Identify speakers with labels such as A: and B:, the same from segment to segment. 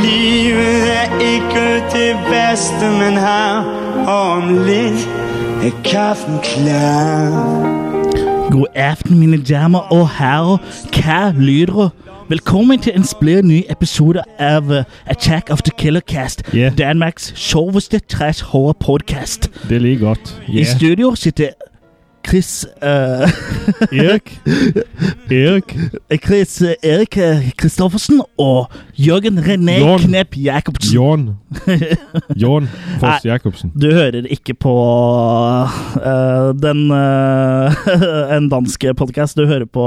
A: Livet er ikke det beste, men her og om litt er kaffen klar.
B: God aften, mine damer og herrer. Hva lyder Velkommen til en splid ny episode av eh, Attack of the Killer Cast.
C: Yeah.
B: Danmarks sjoveste trash horror podcast.
C: Det ligger godt.
B: I studio sitter Chris eh,
C: Erik. Erik.
B: Chris eh, Erik eh, Kristoffersen og Jørgen René
C: Jørn.
B: Knep Jacobsen.
C: Jorn. Jorn Foss Jacobsen.
B: Du hører det ikke på eh, den eh, en dansk podkast. Du hører på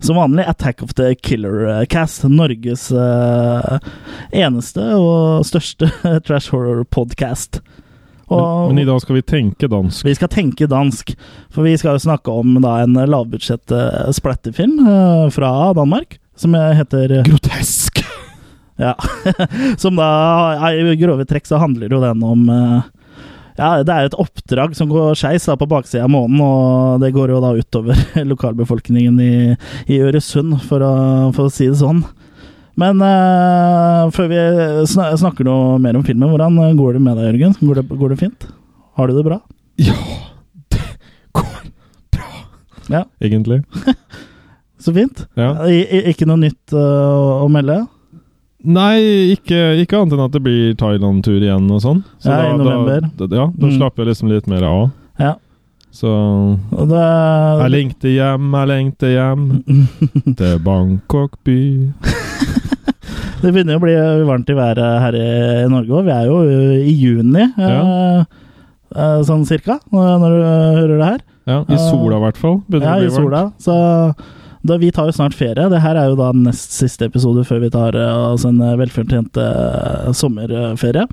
B: som vanlig Attack of the Killer Cast. Norges eh, eneste og største trash horror-podkast.
C: Men,
B: Og
C: men i dag skal vi tenke dansk.
B: vi skal tenke dansk, for vi skal jo snakke om da, en lavbudsjett eh, splatterfilm eh, fra Danmark. Som heter
C: Grotesk!
B: ja. Som da, i grove trekk så handler jo den om eh, Ja, det er et oppdrag som går skeis da på baksida av månen, og det går jo da utover lokalbefolkningen i, i Øresund, for å, for å si det sånn. Men eh, før vi sna snakker noe mer om filmen, hvordan går det med deg, Jørgen? Går det, går det fint? Har du det bra?
C: Ja, det går bra.
B: Ja.
C: Egentlig.
B: Så fint?
C: Ja.
B: I, i, ikke noe nytt eh, å, å melde?
C: Nei, ikke, ikke annet enn at det blir Thailand-tur igjen og sånn. Så
B: Ja, i
C: Da,
B: november.
C: da, ja, da
B: Mm.
C: slapper jeg liksom litt mer av.
B: Ja.
C: Så
B: Og det,
C: Jeg lengter hjem, jeg lengter hjem til Bangkok by.
B: Det begynner jo å bli varmt i været her i i Norge òg. Vi er jo i juni, eh,
C: Ja.
B: eh, sånn cirka, når når du hører det her.
C: Ja, I sola, i hvert fall. Begynner
B: Ja,
C: å
B: i
C: bli varmt.
B: sola. Så da, vi tar jo snart ferie. Det her er jo da nest siste episode før vi tar eh, oss en eh, velfortjent eh, sommerferie.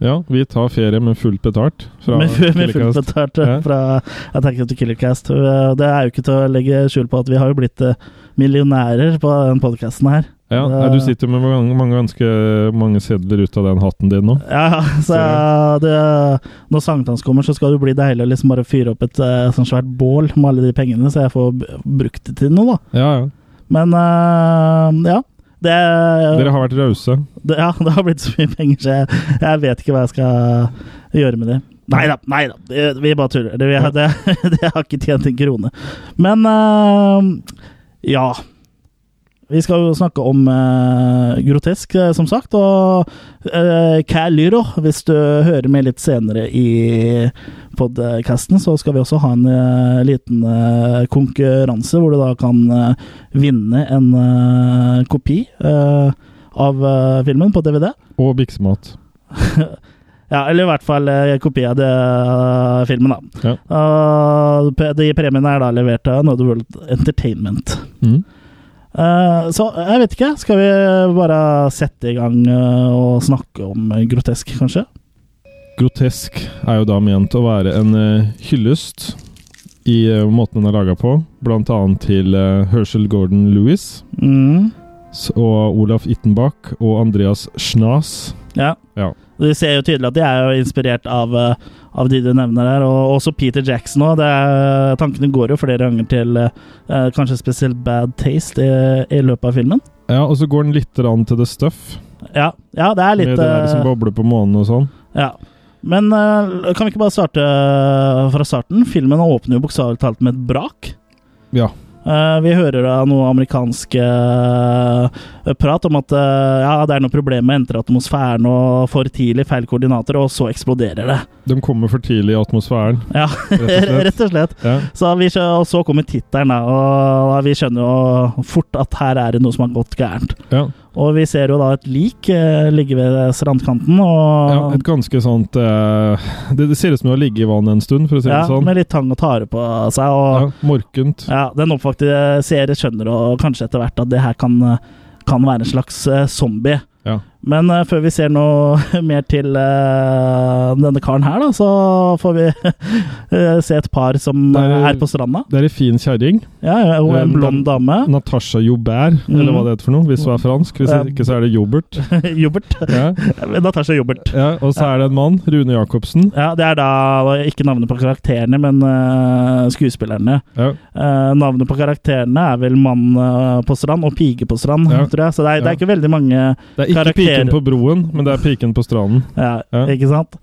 C: Ja, vi tar ferie med fullt betalt. Fra
B: med, fu- med fullt
C: Killecast.
B: betalt eh,
C: Ja.
B: fra Attack of the Killer Cast. Eh, Det er jo ikke til å legge skjul på at vi har jo blitt eh, millionærer på den podkasten her.
C: Ja,
B: Det-
C: nei, Du sitter med mange, mange, ganske mange sedler ut av den hatten din nå.
B: Ja, så
C: Ser
B: det, når sankthans kommer, så skal det jo bli deilig å liksom bare fyre opp et eh, sånn svært bål med alle de pengene, så jeg får b- brukt det til noe, da.
C: Ja, ja.
B: Men eh, ja. Det,
C: Eh, Dere har vært rause.
B: det, ja, det har blitt så mye penger, så jeg, jeg vet ikke hva jeg skal gjøre med det. Nei da, nei da. det- Vi bare tuller. Det, vi, har- det, det har ikke tjent en krone. Men eh, ja. Vi skal jo snakke om eh, grotesk, eh, som sagt. Og eh, hva lyro? Hvis du hører med litt senere i podkasten, så skal vi også ha en eh, liten eh, konkurranse hvor du da kan eh, vinne en eh, kopi. eh, av eh, filmen på DVD.
C: Og biksemat.
B: Ja, eller i hvert fall eh, kopi av det, eh, filmen, da.
C: Ja.
B: Eh, pe- de premiene er da levert av Another World Entertainment.
C: Mm.
B: Eh, så jeg vet ikke. Skal vi bare sette i gang eh, og snakke om grotesk, kanskje?
C: Grotesk er jo da ment å være en eh, hyllest i eh, måten den er laga på, blant annet til eh, Herschel Gordon Lewis
B: Mm.
C: s- og Olaf Ittenbach og Andreas Schnas.
B: Ja.
C: Ja.
B: Du ser jo tydelig at de er jo inspirert av, eh, av de du nevner der, og også Peter Jackson òg. Tankene går jo flere ganger til eh, eh, kanskje spesielt Bad Taste i, i løpet av filmen.
C: Ja, og så går den litt rann til det stuff,
B: Ja, ja det er litt
C: med det der
B: eh,
C: som bobler på månen og sånn.
B: Ja. Men eh, kan vi ikke bare starte eh, fra starten? Filmen åpner jo bokstavelig talt med et brak.
C: Ja.
B: Eh, vi hører da noe amerikansk eh, prat om at eh, ja, det er noe problem med å entre atmosfæren og for tidlig feil koordinater, og så eksploderer det.
C: De kommer for tidlig i atmosfæren,
B: Ja,
C: rett og slett.
B: rett og slett.
C: Ja.
B: Så vi, skjø- og så kommer tittelen, da, og vi skjønner jo fort at her er det noe som har gått gærent.
C: Ja.
B: Og vi ser jo da et lik eh, ligge ved strandkanten, og
C: Ja, et ganske sånt eh, det, det ser ut som det har ligget i vannet en stund, for å si
B: ja,
C: det sånn.
B: med litt tang og tare på seg. Og,
C: Ja, morkent.
B: Ja, den oppvakte seere skjønner og kanskje etter hvert at det her kan, kan være en slags eh, zombie.
C: Ja.
B: Men eh, før vi ser noe mer til eh, denne karen her, da, så får vi eh, se et par som eh,
C: Det
B: er,
C: er-
B: på stranda.
C: Det er ei fin kjerring.
B: Ja, ja, hun er en
C: Um,
B: blond dame.
C: Natasha Joubert,
B: Mhm.
C: eller hva det heter for noe, hvis hun er fransk. Hvis
B: Ja.
C: ikke, så er det Jobbert.
B: Jobbert.
C: Ja.
B: Natasha Jobbert.
C: Ja, og så er det en mann, Rune Jacobsen.
B: Ja, det er da ikke navnet på karakterene, men eh, skuespillerne.
C: Ja.
B: Eh, navnet på karakterene er vel mann eh, på strand og pike på strand,
C: Ja.
B: tror jeg. Så det er, det
C: Ja.
B: er ikke veldig mange
C: Det er ikke pike piken på broen, men det er piken på stranden.
B: Ja,
C: Ja.
B: ikke sant?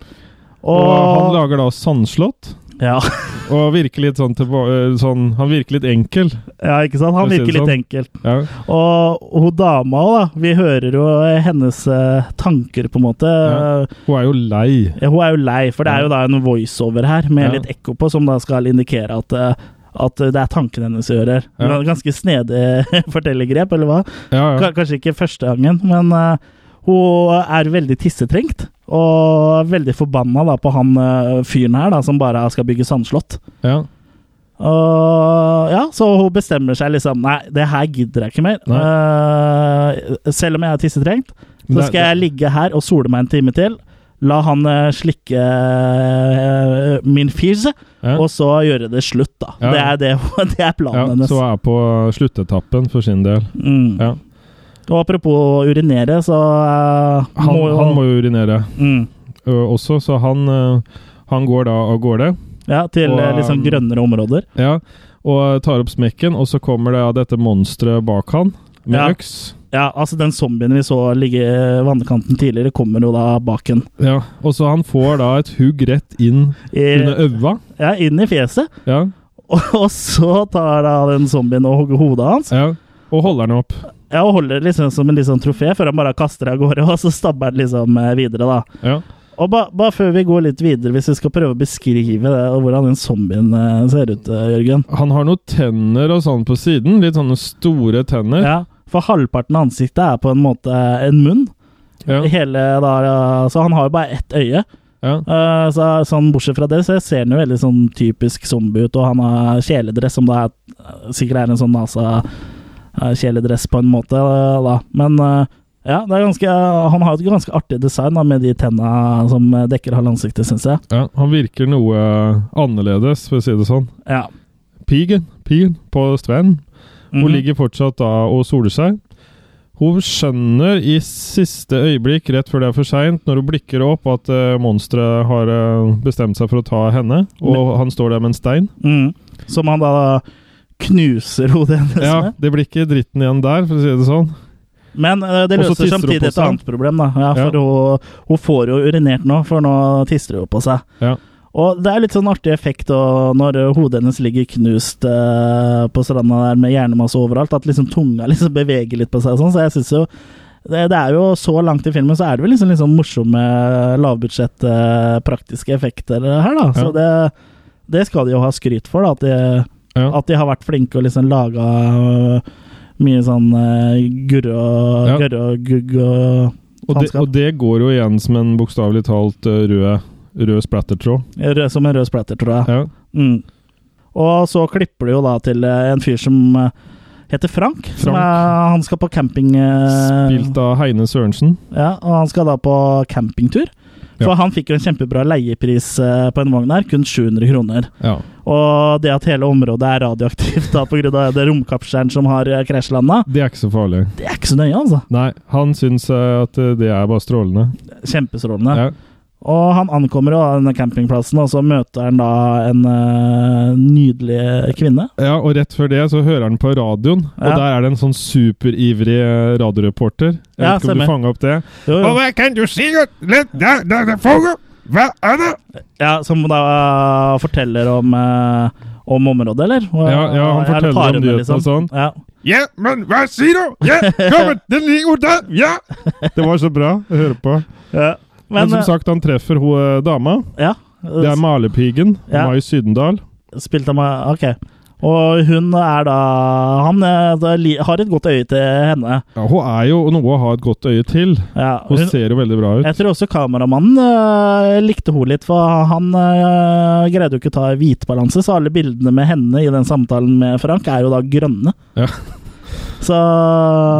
C: Og han
B: Og
C: lager da sandslott,
B: ja,
C: og virker litt sånn, tilba eh, sånn Han virker litt enkel.
B: ja, ikke sant? Han
C: For å si
B: virker
C: det
B: litt
C: sånn.
B: enkel.
C: Ja.
B: Og hun dama òg, da. Vi hører jo hennes eh, tanker, på en måte.
C: Ja. Hun er jo lei.
B: Ja, Hun er jo lei, for det er jo da en voiceover her med
C: Ja.
B: litt ekko på, som da skal indikere at eh, at det er tankene hennes vi hører.
C: Ja.
B: Det var et Ganske snedig fortellergrep, eller hva?
C: Ja, ja.
B: Ka- Kanskje ikke første gangen, men eh, hun er veldig tissetrengt. Og veldig forbanna da på han eh, fyren her, da, som bare skal bygge sandslott.
C: ja.
B: Og ja, så hun bestemmer seg liksom Nei, det her gidder jeg ikke mer. Eh, selv om jeg er tissetrengt,
C: Men
B: så
C: det-
B: skal jeg ligge her og sole meg en time til. La han eh, slikke eh, min fis,
C: ja.
B: og så gjøre det slutt, da.
C: Ja.
B: Det, er det, hun- det er planen
C: ja,
B: hennes.
C: så er på sluttetappen for sin del.
B: Mm.
C: Ja.
B: Og apropos å urinere, så eh,
C: Han må jo, han må jo urinere
B: mm,
C: ø, også, så han, ø, han går da av gårde.
B: Ja, til
C: Og,
B: eh, liksom
C: um,
B: grønnere områder.
C: Ja, og tar opp smekken, og så kommer det ja, dette monsteret bak han med
B: Ja.
C: øks.
B: Ja, altså den zombien vi så ligge i vannkanten tidligere, kommer jo da bak en.
C: Ja, og så han får da et hugg rett inn
B: I-
C: under øva.
B: Ja, inn i fjeset.
C: Ja,
B: Og, og så tar da den zombien og hogger hodet hans.
C: ja. Og holder han opp.
B: Ja, og holder det liksom som en liksom trofé før han bare kaster det av gårde, og så stabber han liksom eh, videre, da.
C: Ja.
B: Og ba- bare før vi går litt videre, hvis vi skal prøve å beskrive det, og hvordan den zombien eh, ser ut, eh, Jørgen.
C: Han har noen tenner og sånn på siden. Litt sånne store tenner.
B: Ja, for halvparten av ansiktet er på en måte eh, en munn.
C: Ja, ja.
B: Hele da, eh, så han har jo bare ett øye.
C: ja.
B: Eh, så, sånn Bortsett fra det så ser han jo veldig sånn typisk zombie ut, og han har kjeledress, som da er, sikkert er en sånn NASA-kjeledress på en måte. eh, da. Men eh, ja, det er ganske, han har et ganske artig design da, med de tenna som eh, dekker halve ansiktet, syns jeg.
C: Han virker noe annerledes, for å si det sånn.
B: Ja.
C: Pigen, pigen på Sven. Hun
B: Mhm.
C: ligger fortsatt da og soler seg. Hun skjønner i siste øyeblikk, rett før det er for seint, når hun blikker opp, at uh, monsteret har eh, bestemt seg for å ta henne, og han står der med en stein.
B: Mhm. Som han da knuser hodet hennes
C: Ja,
B: med.
C: Det blir ikke dritten igjen der, for å si det sånn.
B: Men eh, det
C: Og så
B: løser
C: tisser hun
B: samtidig
C: på
B: et
C: seg.
B: annet problem, da. Ja, for hun, hun får jo urinert nå, for nå tisser hun på seg.
C: Ja.
B: Og det er litt sånn artig effekt og når eh, hodet hennes ligger knust eh, på stranda der med hjernemasse overalt, at liksom tunga liksom beveger litt på seg og sånn, så jeg syns jo det, det er jo så langt i filmen, så er det vel liksom, liksom morsomme lavbudsjett eh, praktiske effekter her, da. Så
C: Ja.
B: det, det skal de jo ha skryt for, da. At de,
C: Ja.
B: at de har vært flinke og liksom laga øh, mye sånn øh, gurre og
C: Ja.
B: gørre og gugg og
C: Og det, og
B: faenskap.
C: det går jo igjen som en bokstavelig talt eh, rød, rød splattertråd.
B: Rød- Som en rød splatter, tror jeg.
C: Ja.
B: Mm. Og så klipper det jo da til øh, en fyr som øh, heter Frank. Som
C: Frank.
B: er, han skal på camping
C: Eh.
B: øh,
C: Spilt av Heine Sørensen.
B: Ja, og han skal da på campingtur. For
C: Ja.
B: han fikk jo en kjempebra leiepris øh, på en vogn her, kun 700 kroner.
C: Ja.
B: Og det at hele området er radioaktivt da pga. det romkapselen som har øh, krasjlanda,
C: Det er ikke så farlig.
B: det er ikke så nøye, altså.
C: Nei, han syns eh, at eh, det er bare strålende.
B: Kjempestrålende.
C: Ja.
B: Og han ankommer jo denne campingplassen, og så møter han da en eh, nydelig kvinne.
C: Ja, og rett før det så hører han på radioen, og
B: Ja.
C: der er det en sånn superivrig eh, radioreporter. Jeg
B: Ja,
C: vet ikke om
B: stemmer.
C: du fanga opp det?
B: Jo, jo.
D: kan du si at det, det, det, det foregår? Hva er det?
B: Ja, som da forteller om, eh, om området, eller? Og-
C: Ja, ja han
B: eller
C: forteller
B: parene, liksom?
C: om nyhetene og sånn.
B: Ja.
D: Ja, men hva sier du? Ja, kom igjen, den ligger jo der! Ja!
C: Det var så bra å høre på.
B: Ja.
C: Men,
B: Men,
C: som sagt, han treffer hun eh, dama.
B: eh, ja,
C: Det er malerpigen.
B: Ja.
C: Mai Sydendal.
B: spilt av meg Ok. Og hun er da Han eh, da li- har et godt øye til henne.
C: Ja, hun er jo noe å ha et godt øye til.
B: Ja,
C: Hun
B: hun,
C: ser jo veldig bra ut.
B: jeg tror også kameramannen eh, likte hun litt, for han eh, greide jo ikke å ta hvitbalanse, så alle bildene med henne i den samtalen med Frank er jo da grønne.
C: Ja.
B: Så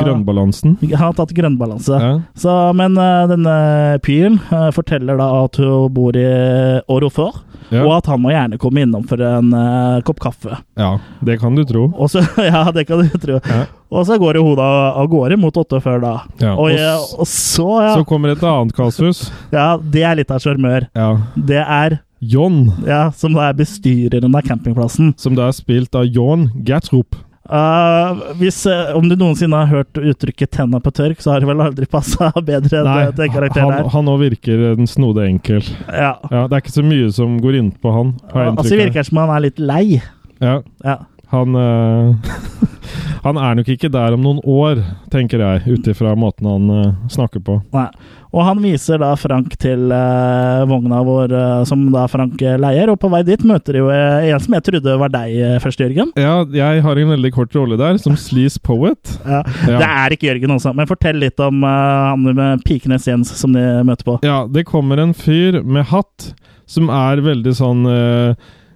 C: Grønnbalansen.
B: Han har tatt grønnbalanse.
C: Ja.
B: Så, men eh, denne pyren eh, forteller da at hun bor i Orofor, og
C: Ja.
B: at han må gjerne komme innom for en eh, kopp kaffe.
C: ja, det kan du tro.
B: Og så, ja, det kan du tro.
C: Ja.
B: Og så går jo hodet av av gårde mot åtte før da.
C: Ja.
B: Og,
C: Og
B: eh,
C: s-
B: og så, ja,
C: så kommer et annet kasus.
B: ja Det er litt av sjarmør.
C: Ja.
B: Det er
C: John,
B: Ja, som da er bestyreren av campingplassen.
C: som da er spilt av John Gatrup.
B: Eh, hvis, eh, om du noensinne har hørt uttrykket 'tenna på tørk', så har det vel aldri passa bedre enn det- den karakteren her.
C: han, han også virker en snodig enkel.
B: Ja.
C: Ja, det er ikke så mye som går innpå han, har jeg
B: Altså, det
C: inntrykk av.
B: virker som han er litt lei.
C: Ja,
B: Ja.
C: han, eh, han er nok ikke der om noen år, tenker jeg, ut ifra måten han eh, snakker på.
B: Nei. Og han viser da Frank til eh, vogna vår, eh, som da Frank eh, leier. Og på vei dit møter de jo eh, en som jeg trodde var deg eh, først, Jørgen.
C: Ja, jeg har en veldig kort rolle der, som sleaze poet.
B: Ja. Det
C: Ja.
B: er ikke Jørgen også, men fortell litt om eh, han med Pikenes Jens som de møter på.
C: ja, det kommer en fyr med hatt som er veldig sånn eh,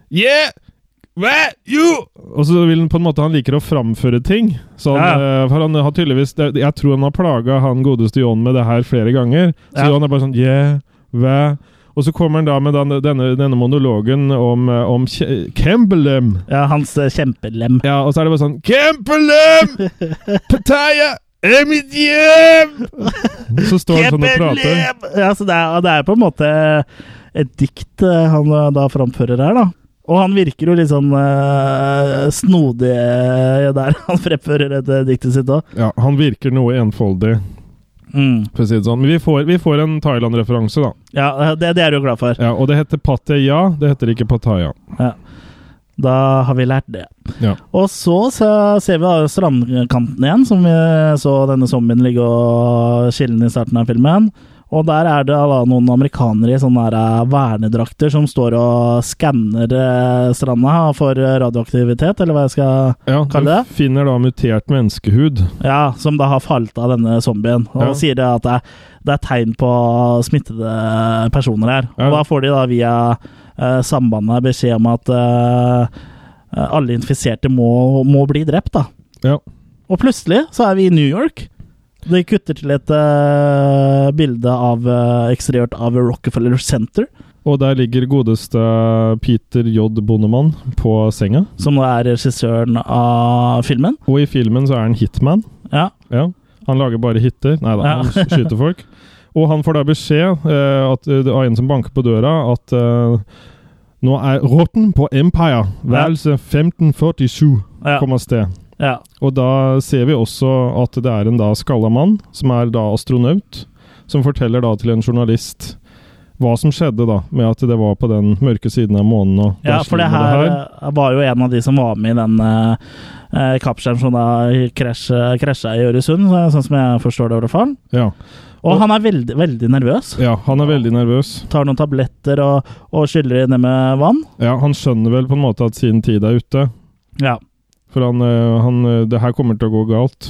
C: Yeah! What? You! Og så vil han på en måte Han liker å framføre ting. Så han, eh, for han har tydeligvis det- Jeg tror han har plaga han godeste John med det her flere ganger. Så
B: Ja.
C: han er bare sånn Yeah, hva? Og så kommer han da med den, denne, denne monologen om, eh, om Kje- Kemblem.
B: Ja, hans eh, kjempelem.
C: Ja, og så er det bare sånn Kempelem! Pattaya! Er mitt hjem! Så står han sånn og prater.
B: Ja, så det er, det er på en måte et dikt eh, han eh, da framfører her, da. Og han virker jo litt sånn eh, snodig eh, der han fremfører dette diktet sitt òg.
C: Ja, han virker noe enfoldig,
B: Mm.
C: for å si det sånn. Men vi får, vi får en Thailand-referanse, da.
B: Ja, eh, det, det er du glad for.
C: Ja, og det heter Pattaya, det heter ikke Pattaya.
B: Da har vi lært det.
C: Ja.
B: Og så, så ser vi da strandkanten igjen, som vi så denne zombien ligge og skille i starten av filmen. Og der er det da noen amerikanere i sånne her, eh, vernedrakter som står og skanner eh, stranda for eh, radioaktivitet, eller hva jeg skal
C: Ja,
B: Kan det?
C: Du finner da mutert menneskehud.
B: Ja, som da har falt av denne zombien. Og
C: Ja.
B: sier det at det er, det er tegn på smittede personer her.
C: Ja.
B: Og da får de da via eh, sambandet beskjed om at eh, alle infiserte må, må bli drept, da.
C: Ja.
B: Og plutselig så er vi i New York. De kutter til et eh, bilde av eh, eksteriørt av Rockefeller Center,
C: Og der ligger godeste Peter J. Bondemann på senga.
B: som da er regissøren av filmen.
C: Og i filmen så er han hitman.
B: Ja.
C: Ja, han lager bare hitter. Nei da,
B: Ja.
C: han sk- skyter folk. Og han får da beskjed eh, at, eh, av en som banker på døra, at eh, nå er rotten på Empire, værelse 1547,
B: Ja.
C: kommer sted.
B: ja.
C: Og da ser vi også at det er en da skalla mann, som er da astronaut, som forteller da til en journalist hva som skjedde da, med at det var på den mørke siden av månen. Og
B: Ja,
C: der
B: for det
C: slo
B: her eh, var jo en av de som var med i den uh, kapselen som da krasj- eh, krasja i Øresund, så- sånn som jeg forstår det, i hvert fall.
C: Ja,
B: Og han er veldig, veldig nervøs.
C: ja, han er veldig nervøs.
B: Tar noen tabletter og, og skyller i det med vann.
C: Ja, han skjønner vel på en måte at sin tid er ute.
B: Ja.
C: For han, eh, han eh, Det her kommer til å gå galt.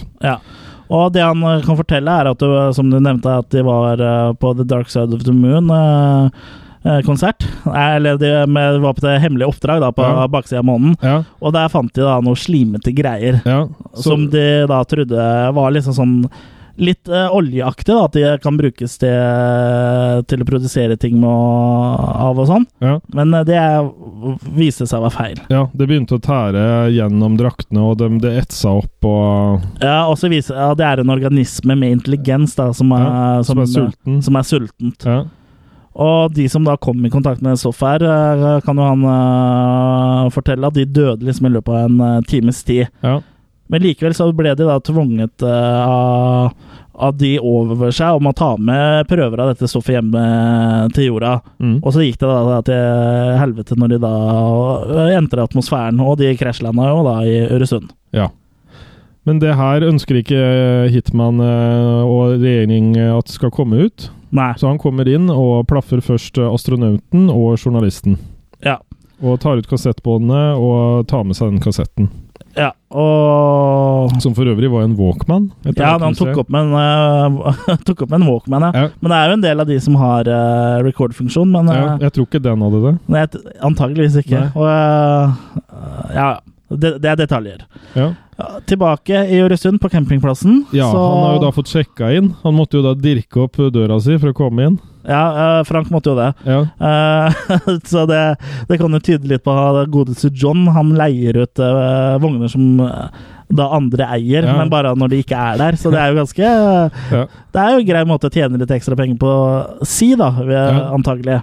B: Og det han eh, kan fortelle, er at du, som du nevnte, at de var eh, på The Dark Side of the Moon. eh, eh, konsert. Nei, Eller de med, var på det hemmelige oppdrag da, på
C: Ja.
B: baksida av månen.
C: Ja,
B: Og der fant de da noe slimete greier.
C: ja. Så,
B: Som de da trodde var liksom sånn litt eh, oljeaktig, da, at de kan brukes til, til å produsere ting med, å- av og sånn.
C: ja,
B: Men eh, det er- viste seg å være feil.
C: ja, det begynte å tære gjennom draktene, og de- det etsa opp og
B: Ja, og så viser ja, Det er en organisme med intelligens da, som er,
C: Ja, Som
B: som, eh,
C: er sulten.
B: som er sultent.
C: Ja,
B: Og de som da kom i kontakt med Soff her, eh, kan jo han eh, fortelle at de døde liksom i løpet av en eh, times tid.
C: ja,
B: Men likevel så ble de da tvunget eh, av, av de over seg om å ta med prøver av dette stoffet hjemme til jorda.
C: mm,
B: Og så gikk det da, da til helvete når de da eh, entret atmosfæren, og de krasjlanda jo da i Øresund.
C: ja. Men det her ønsker ikke Hitman eh, og regjering eh, at skal komme ut.
B: Nei.
C: Så han kommer inn og plaffer først eh, astronauten og journalisten.
B: Ja.
C: Og tar ut kassettbåndene og tar med seg den kassetten.
B: Ja, og
C: Som for øvrig var en Walkman. etter
B: Ja, han
C: hva jeg kan se.
B: tok opp, med en, eh, tok opp med en Walkman, ja.
C: Ja.
B: Men det er jo en del av de som har eh, record-funksjon, men
C: Ja,
B: eh,
C: jeg tror ikke den hadde det.
B: nei, antageligvis ikke.
C: Nei.
B: Og, eh, ja, det, det er detaljer.
C: Ja.
B: Ja, Tilbake i Øresund, på campingplassen.
C: Ja,
B: så-
C: han har jo da fått sjekka inn. Han måtte jo da dirke opp døra si for å komme inn.
B: Ja, eh, Frank måtte jo det.
C: Ja,
B: Eh, så det, det kan jo tyde litt på at godeste John. Han leier ut eh, vogner som eh, da andre eier,
C: Ja.
B: men bare når de ikke er der. Så det er jo ganske
C: ja.
B: Det er jo en grei måte å tjene litt ekstra penger på si, da, vil jeg-
C: Ja.
B: antagelig.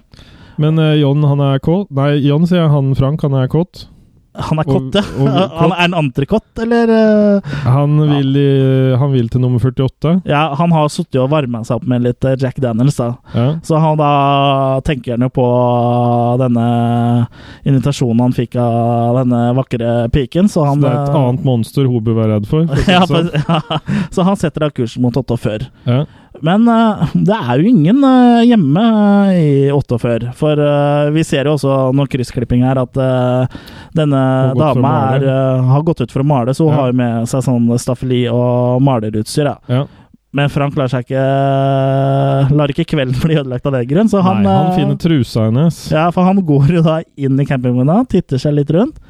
C: Men eh, John, han er kåt Nei, John sier jeg, han Frank, han er kåt.
B: Han er kott,
C: Og-
B: ja.
C: og
B: Han er en entrecôte, eller eh,
C: Han vil, i, han vil til nummer 48.
B: Ja, han har sittet og varma seg opp med litt eh, Jack Daniels, da.
C: Ja.
B: Så han da tenker han jo på denne invitasjonen han fikk av denne vakre piken, så
C: Så
B: han
C: det er et
B: eh,
C: annet monster hun bør være redd for. for å si
B: ja,
C: det sånn.
B: for, ja, så han setter da kursen mot 48.
C: ja.
B: Men eh, det er jo ingen eh, hjemme eh, i 48. For eh, vi ser jo også noen kryssklipping her at eh, denne
C: Har gått for å
B: dama er,
C: male.
B: eh, har gått ut for å male, så hun
C: Ja.
B: har jo med seg sånn staffeli og malerutstyr. Ja.
C: Ja.
B: Men Frank lar, seg ikke, eh, lar ikke kvelden bli ødelagt av den grunn, så han,
C: Nei, han
B: eh,
C: finner trusa hennes.
B: ja, for han går jo da inn i campingvogna, titter seg litt rundt,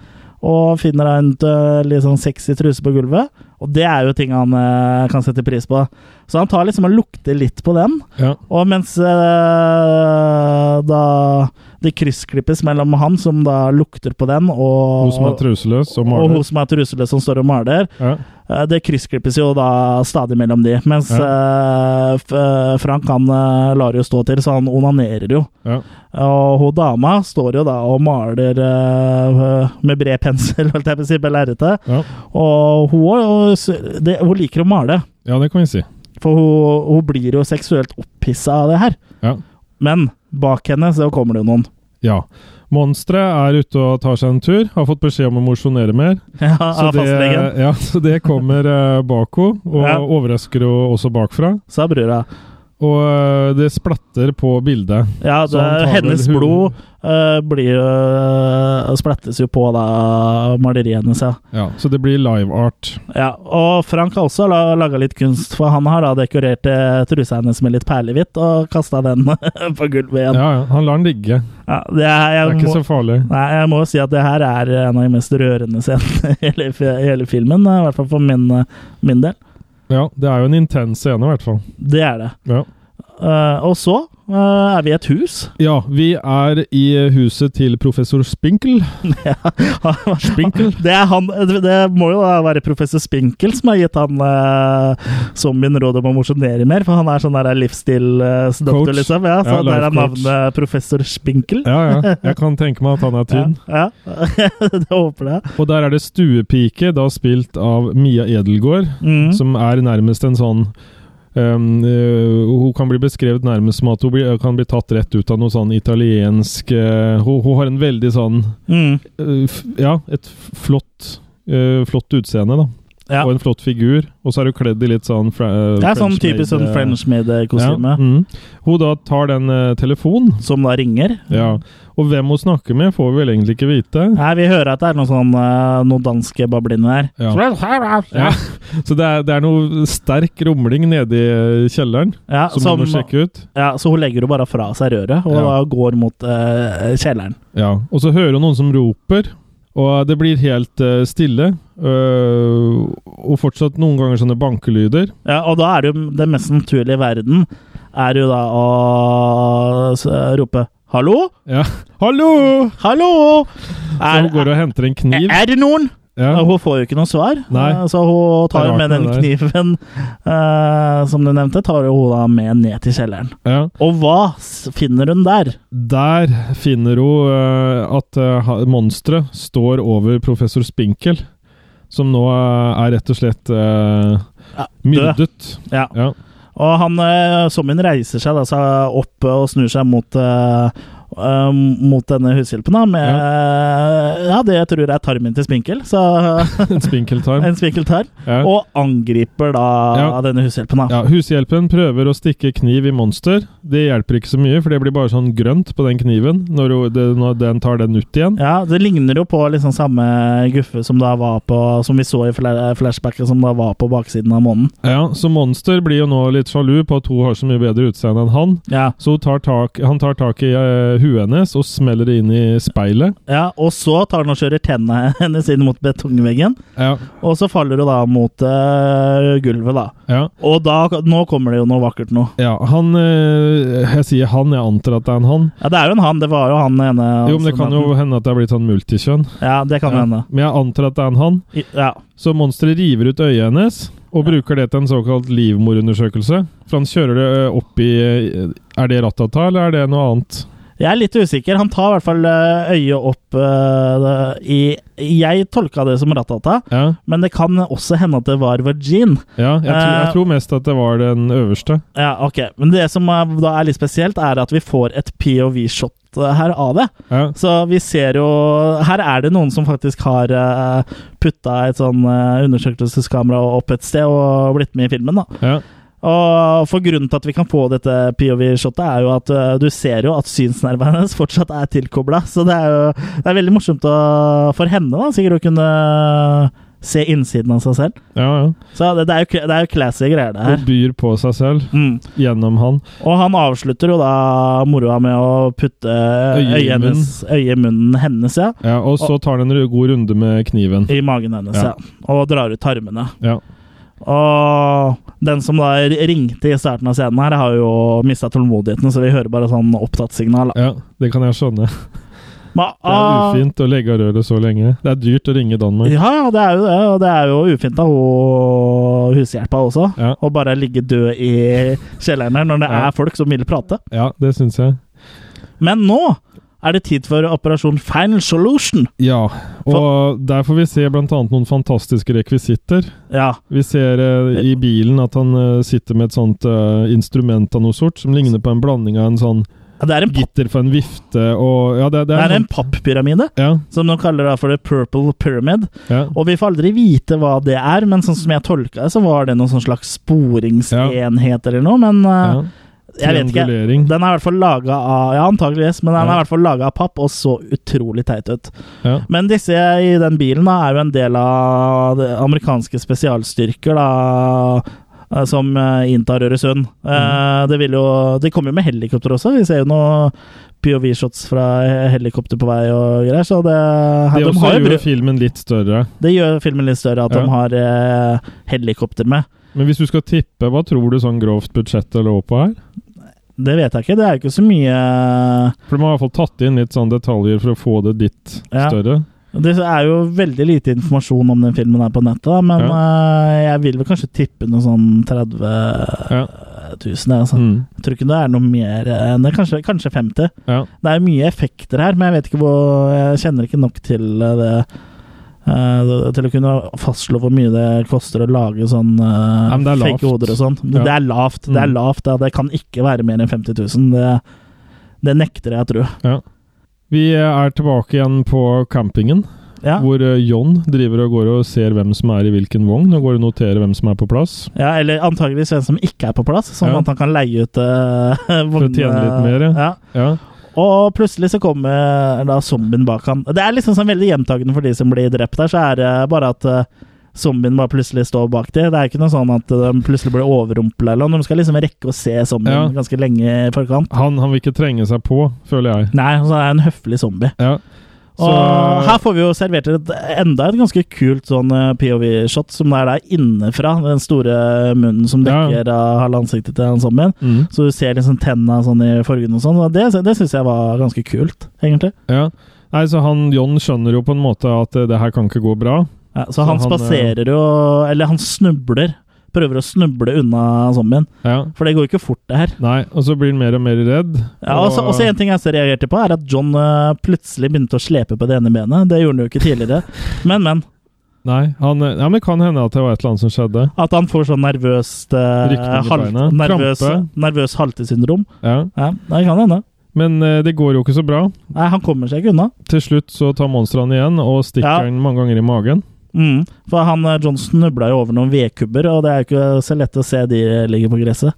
B: og finner da en eh, litt sånn sexy truse på gulvet. Og det er jo ting han eh, kan sette pris på. Så han tar liksom og lukter litt på den,
C: Ja.
B: og mens eh, da det kryssklippes mellom han som da lukter på den, og
C: Hun som er truseløs og
B: og hun
C: maler.
B: som er truseløs, som står og maler.
C: Ja.
B: eh, Det kryssklippes jo da stadig mellom de, mens eh, F- eh, Frank han eh, lar jo stå til, så han onanerer jo.
C: Ja.
B: Og hun dama står jo da og maler eh, med bred pensel, holdt jeg på å si, på lerretet.
C: Ja.
B: Og hun, og s- det, hun liker å male,
C: ja, det kan vi si.
B: for hun, hun blir jo seksuelt opphissa av det her.
C: Ja.
B: Men bak henne så kommer det jo noen.
C: ja. Monsteret er ute og tar seg en tur. Har fått beskjed om å mosjonere mer.
B: Ja,
C: Så
B: av
C: det,
B: fastlegen.
C: ja, så det kommer eh, bak henne, og
B: Ja.
C: overrasker henne også bakfra.
B: Sa brura.
C: Og eh, det splatter på bildet.
B: Ja,
C: Så
B: det,
C: han tar vel
B: hennes
C: huden-
B: blod eh, blir jo Splattes jo på da maleriet hennes, ja.
C: Ja, så det blir live art.
B: Ja, og Frank har også la- laga litt kunst, for han har da dekorert eh, trusa hennes med litt perlehvitt og kasta den på gulvet igjen. Ja.
C: Ja, ja, han lar den ligge.
B: det er,
C: Det
B: jeg,
C: er ikke
B: må,
C: så farlig.
B: nei, jeg må jo si at det her er en av de mest rørende scenene i hele, fi- i hele filmen, eh, i hvert fall for min, eh, min del.
C: Ja, det er jo en intens scene, i hvert fall.
B: Det er det.
C: Ja.
B: Eh, og så eh, er vi i et hus.
C: ja, vi er i huset til professor Spinkel. Spinkel?
B: Det, er han, det må jo da være professor Spinkel som har gitt han eh, zombien råd om å mosjonere mer, for han er sånn der livsstilsdoktor,
C: Coach.
B: liksom. Ja, så
C: Ja,
B: der
C: life
B: er navnet professor Spinkel.
C: Ja, ja. Jeg kan tenke meg at han er tynn.
B: Ja, ja. det håper jeg.
C: Og der er det stuepike, da spilt av Mia Edelgaard,
B: Mm.
C: som er nærmest en sånn ehm, øh, Hun kan bli beskrevet nærmest som at hun blir, kan bli tatt rett ut av noe sånn italiensk eh, hun, hun har en veldig sånn
B: Mm.
C: eh, f, Ja, et f- flott eh, Flott utseende, da.
B: Ja.
C: Og en flott figur. Og så er hun kledd i litt sånn fra, eh,
B: Det er sånn
C: French
B: typisk sånn
C: maid, eh,
B: Frenchmade-kostyme,
C: Ja, mm. Hun da tar den eh, telefonen,
B: som da ringer.
C: ja. og hvem hun snakker med, får vi vel egentlig ikke vite.
B: Nei, vi hører at det er noen sånn, eh, noen danske bablinger her.
C: Ja. Ja. Så det er, det er noe sterk rumling nede i kjelleren
B: Ja,
C: som,
B: som,
C: man må sjekke ut.
B: ja, så hun legger jo bare fra seg røret, og
C: Ja.
B: da går mot eh, kjelleren.
C: Ja. Og så hører hun noen som roper, og det blir helt eh, stille. øh, og fortsatt noen ganger sånne bankelyder.
B: Ja, og da er det jo det mest naturlige i verden er jo da å s- eh, rope 'hallo,
C: Ja. 'Hallo!'
B: hallo'!
C: Så
B: Er,
C: hun går og henter en kniv.
B: er det noen?
C: Ja.
B: Hun får jo ikke noe svar,
C: Nei.
B: eh, så hun tar
C: Det er
B: jo
C: rart
B: med
C: det
B: den
C: der.
B: kniven eh, som du nevnte, tar jo hun da med ned til kjelleren.
C: Ja.
B: Og hva s- finner hun der?
C: Der finner hun øh, at uh, monsteret står over professor Spinkel, som nå øh, er rett og slett øh,
B: Ja, død.
C: myrdet.
B: Ja.
C: Ja.
B: Og han eh, zombien reiser seg da så opp eh, og snur seg mot eh, eh, mot denne hushjelpen, da, med eh, ja. det jeg tror er tarmen til Spinkel. Så eh,
C: En spinkeltarm.
B: en spinkeltarm.
C: Ja.
B: Og angriper da
C: Ja.
B: denne hushjelpen. da.
C: Ja, Hushjelpen prøver å stikke kniv i monster. Det hjelper ikke så mye, for det blir bare sånn grønt på den kniven når, hun- det, når den tar den ut igjen.
B: Ja, Det ligner jo på liksom samme guffe som da var på Som vi så i fla- flashbacket, som da var på baksiden av månen.
C: Ja, Så monster blir jo nå litt sjalu på at hun har så mye bedre utseende enn han.
B: Ja,
C: Så hun tar tak, han tar tak i eh, huet hennes og smeller det inn i speilet.
B: ja Og så tar den og kjører tennene hennes inn mot betongveggen,
C: Ja,
B: og så faller hun da mot eh, gulvet, da.
C: ja,
B: Og da, nå kommer det jo noe vakkert nå.
C: ja. Han eh, Jeg sier han, jeg antar at det er en han.
B: Ja, Det er jo en han, det var jo han ene.
C: Jo, men det kan jo hende at det er blitt sånn multikjønn.
B: Ja, det kan jo
C: Ja.
B: hende.
C: Men jeg antar at det er en han.
B: I- Ja.
C: Så monsteret river ut øyet hennes og bruker det til en såkalt eh, livmorundersøkelse. For han kjører det ø, opp i ø, Er det ratata, eller er det noe annet?
B: Jeg er litt usikker. Han tar i hvert fall eh, øyet opp eh, i Jeg tolka det som Ratata,
C: Ja,
B: men det kan også hende at det var Virgin.
C: ja jeg, tror, jeg
B: Eh,
C: tror mest at det var den øverste.
B: Ja, ok. Men det som er, da er litt spesielt, er at vi får et POV-shot eh, her av det.
C: Ja.
B: Så vi ser jo Her er det noen som faktisk har uh, putta et sånn eh, undersøkelseskamera opp et sted og blitt med i filmen, da.
C: ja.
B: Og for grunnen til at vi kan få dette POV-shotet, er jo at eh, du ser jo at synsnervene hennes fortsatt er tilkobla. Så det er jo det er veldig morsomt å, for henne, da, sikkert å kunne eh, se innsiden av seg selv.
C: Ja, ja.
B: Så det, det, er, jo, kla- det er jo classy greier, det
C: Og
B: her.
C: byr på seg selv
B: Mm.
C: gjennom han.
B: Og han avslutter jo da moroa med å putte
C: Øyet i
B: øyet i
C: munnen.
B: hennes- øyet i munnen hennes, ja.
C: Ja, og så tar han en ru- god runde med kniven.
B: I magen hennes,
C: Ja.
B: ja. Og drar ut tarmene.
C: Ja.
B: Og den som da ringte i starten av scenen her, har jo mista tålmodigheten, så vi hører bare sånn opptattsignal. da.
C: ja, det kan jeg skjønne.
B: Men,
C: Det er ufint å legge av røret så lenge. Det er dyrt å ringe
B: ah,
C: Danmark.
B: Ja, ja, det er jo det. Og det er jo ufint av hun hushjelpa også.
C: Ja.
B: Å bare ligge død i kjelleren her når det
C: Ja.
B: er folk som vil prate.
C: Ja, det syns jeg.
B: Men nå er det tid for operasjon Final Solution.
C: Ja, og der får vi se blant annet noen fantastiske rekvisitter.
B: Ja.
C: Vi ser eh, i bilen at han eh, sitter med et sånt eh, instrument av noe sort, som ligner på en blanding av en sånn
B: Det er en, papp,
C: gitter sånn. for en vifte og Ja, det, det
B: det
C: er
B: er en papppyramide,
C: Ja,
B: som de kaller da for The Purple Pyramid.
C: ja.
B: Og vi får aldri vite hva det er, men sånn som jeg tolka det, så var det noen sånn slags sporingsenhet eller noe, men
C: ja.
B: uh, jeg vet ikke.
C: Triangulering.
B: Den er i hvert fall laga av Ja, antageligvis, men den er
C: Ja.
B: i hvert fall laga av papp og så utrolig teit ut.
C: Ja.
B: Men disse i den bilen da, er jo en del av det amerikanske spesialstyrker, da. eh, Som eh, inntar Øresund. Eh,
C: Mm.
B: Det vil jo De kommer jo med helikopter også. Vi ser jo noen POV-shots fra helikopter på vei og greier, så det
C: Det
B: de
C: også
B: har jo
C: gjør
B: bru-
C: filmen litt større.
B: det gjør filmen litt større at
C: Ja.
B: de har eh, helikopter med.
C: Men hvis du skal tippe, hva tror du sånn grovt budsjettet lå på her?
B: Det vet jeg ikke. Det er jo ikke så mye eh,
C: For de har i hvert fall tatt inn litt sånn detaljer for å få det litt
B: Ja.
C: større.
B: Det er jo veldig lite informasjon om den filmen her på nettet, da, men eh, jeg vil vel kanskje tippe noe sånn 30 000.
C: Ja.
B: jeg, Altså.
C: Mm.
B: Jeg tror ikke det er noe mer enn det. Kanskje, kanskje 50.
C: Ja.
B: Det er mye effekter her, men jeg vet ikke hvor Jeg kjenner ikke nok til eh, det. eh, til å kunne fastslå hvor mye det koster å lage sånn eh,
C: Ja, men det er lavt.
B: fake hoder og sånn.
C: Ja.
B: Det er lavt. Det er
C: Mm.
B: lavt, ja. Det kan ikke være mer enn 50 000. Det, det nekter jeg å tro.
C: Vi eh, er tilbake igjen på campingen,
B: Ja.
C: hvor eh, John driver og går og ser hvem som er i hvilken vogn, og går og noterer hvem som er på plass.
B: ja, eller antageligvis en som ikke er på plass, sånn
C: Ja.
B: at han kan leie ut uh,
C: å tjene litt mer,
B: ja.
C: Ja,
B: Og plutselig så kommer eh, da zombien bak han. Det er liksom sånn veldig gjentagende for de som blir drept her, så er det bare at eh, zombien bare plutselig står bak de. Det er ikke noe sånn at de plutselig blir overrumpla eller noe. De skal liksom rekke å se zombien
C: Ja.
B: ganske lenge i forkant.
C: han, han vil ikke trenge seg på, føler jeg.
B: Nei, så er det en høflig zombie.
C: Ja. Så-
B: Og her får vi jo servert et, enda et ganske kult sånn eh, POV-shot, som er der innenfra. Den store munnen som
C: Ja.
B: dekker av halve ansiktet til den zombien.
C: Mm.
B: Så du ser liksom tenna sånn i fargen og sånn. Og det, det syns jeg var ganske kult, egentlig.
C: Ja. Nei, så han, John skjønner jo på en måte at eh, det her kan ikke gå bra.
B: Ja, så, han,
C: han, eh,
B: spaserer jo Eller han snubler. Prøver å snuble unna zombien.
C: Ja.
B: For det går jo ikke fort, det her.
C: Nei, og så blir han mer og mer redd.
B: Ja, og så- og så En ting jeg også reagerte på, er at John eh, plutselig begynte å slepe på det ene benet. Det gjorde han jo ikke tidligere. Men, men.
C: Nei, han, eh, ja, men det kan hende at det var et eller annet som skjedde.
B: At han får sånn nervøst eh,
C: Rykning i
B: halt,
C: beinet.
B: nervøs,
C: Krampe.
B: nervøs haltesyndrom.
C: Ja.
B: Ja, det kan hende.
C: Men eh, det går jo ikke så bra.
B: Nei, han kommer seg ikke unna.
C: Til slutt så tar monstrene igjen og stikker
B: Ja.
C: han mange ganger i magen.
B: Mm. For han eh, John snubla jo over noen vedkubber, og det er jo ikke så lett å se de ligger på gresset.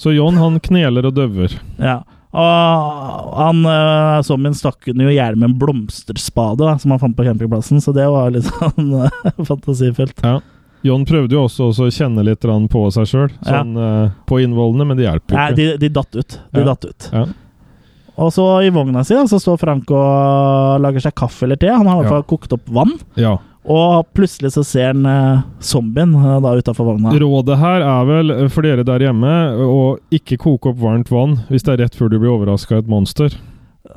C: Så John han kneler og døver.
B: Ja. Og han eh, zombien stakk henne jo i hjel med en blomsterspade da, som han fant på campingplassen, så det var litt sånn eh, fantasifullt.
C: John prøvde jo også, også å kjenne litt grann på seg sjøl,
B: Ja.
C: sånn eh, på innvollene, men det hjelper
B: Nei,
C: jo ikke.
B: de, de datt ut. De
C: Ja.
B: datt ut.
C: Ja.
B: Og så i vogna si da, så står Frank og lager seg kaffe eller te. Han har i hvert
C: Ja.
B: fall kokt opp vann,
C: Ja.
B: og plutselig så ser han eh, zombien eh, da utafor vogna.
C: Rådet her er vel eh, for dere der hjemme eh, å ikke koke opp varmt vann hvis det er rett før du blir overraska av et monster.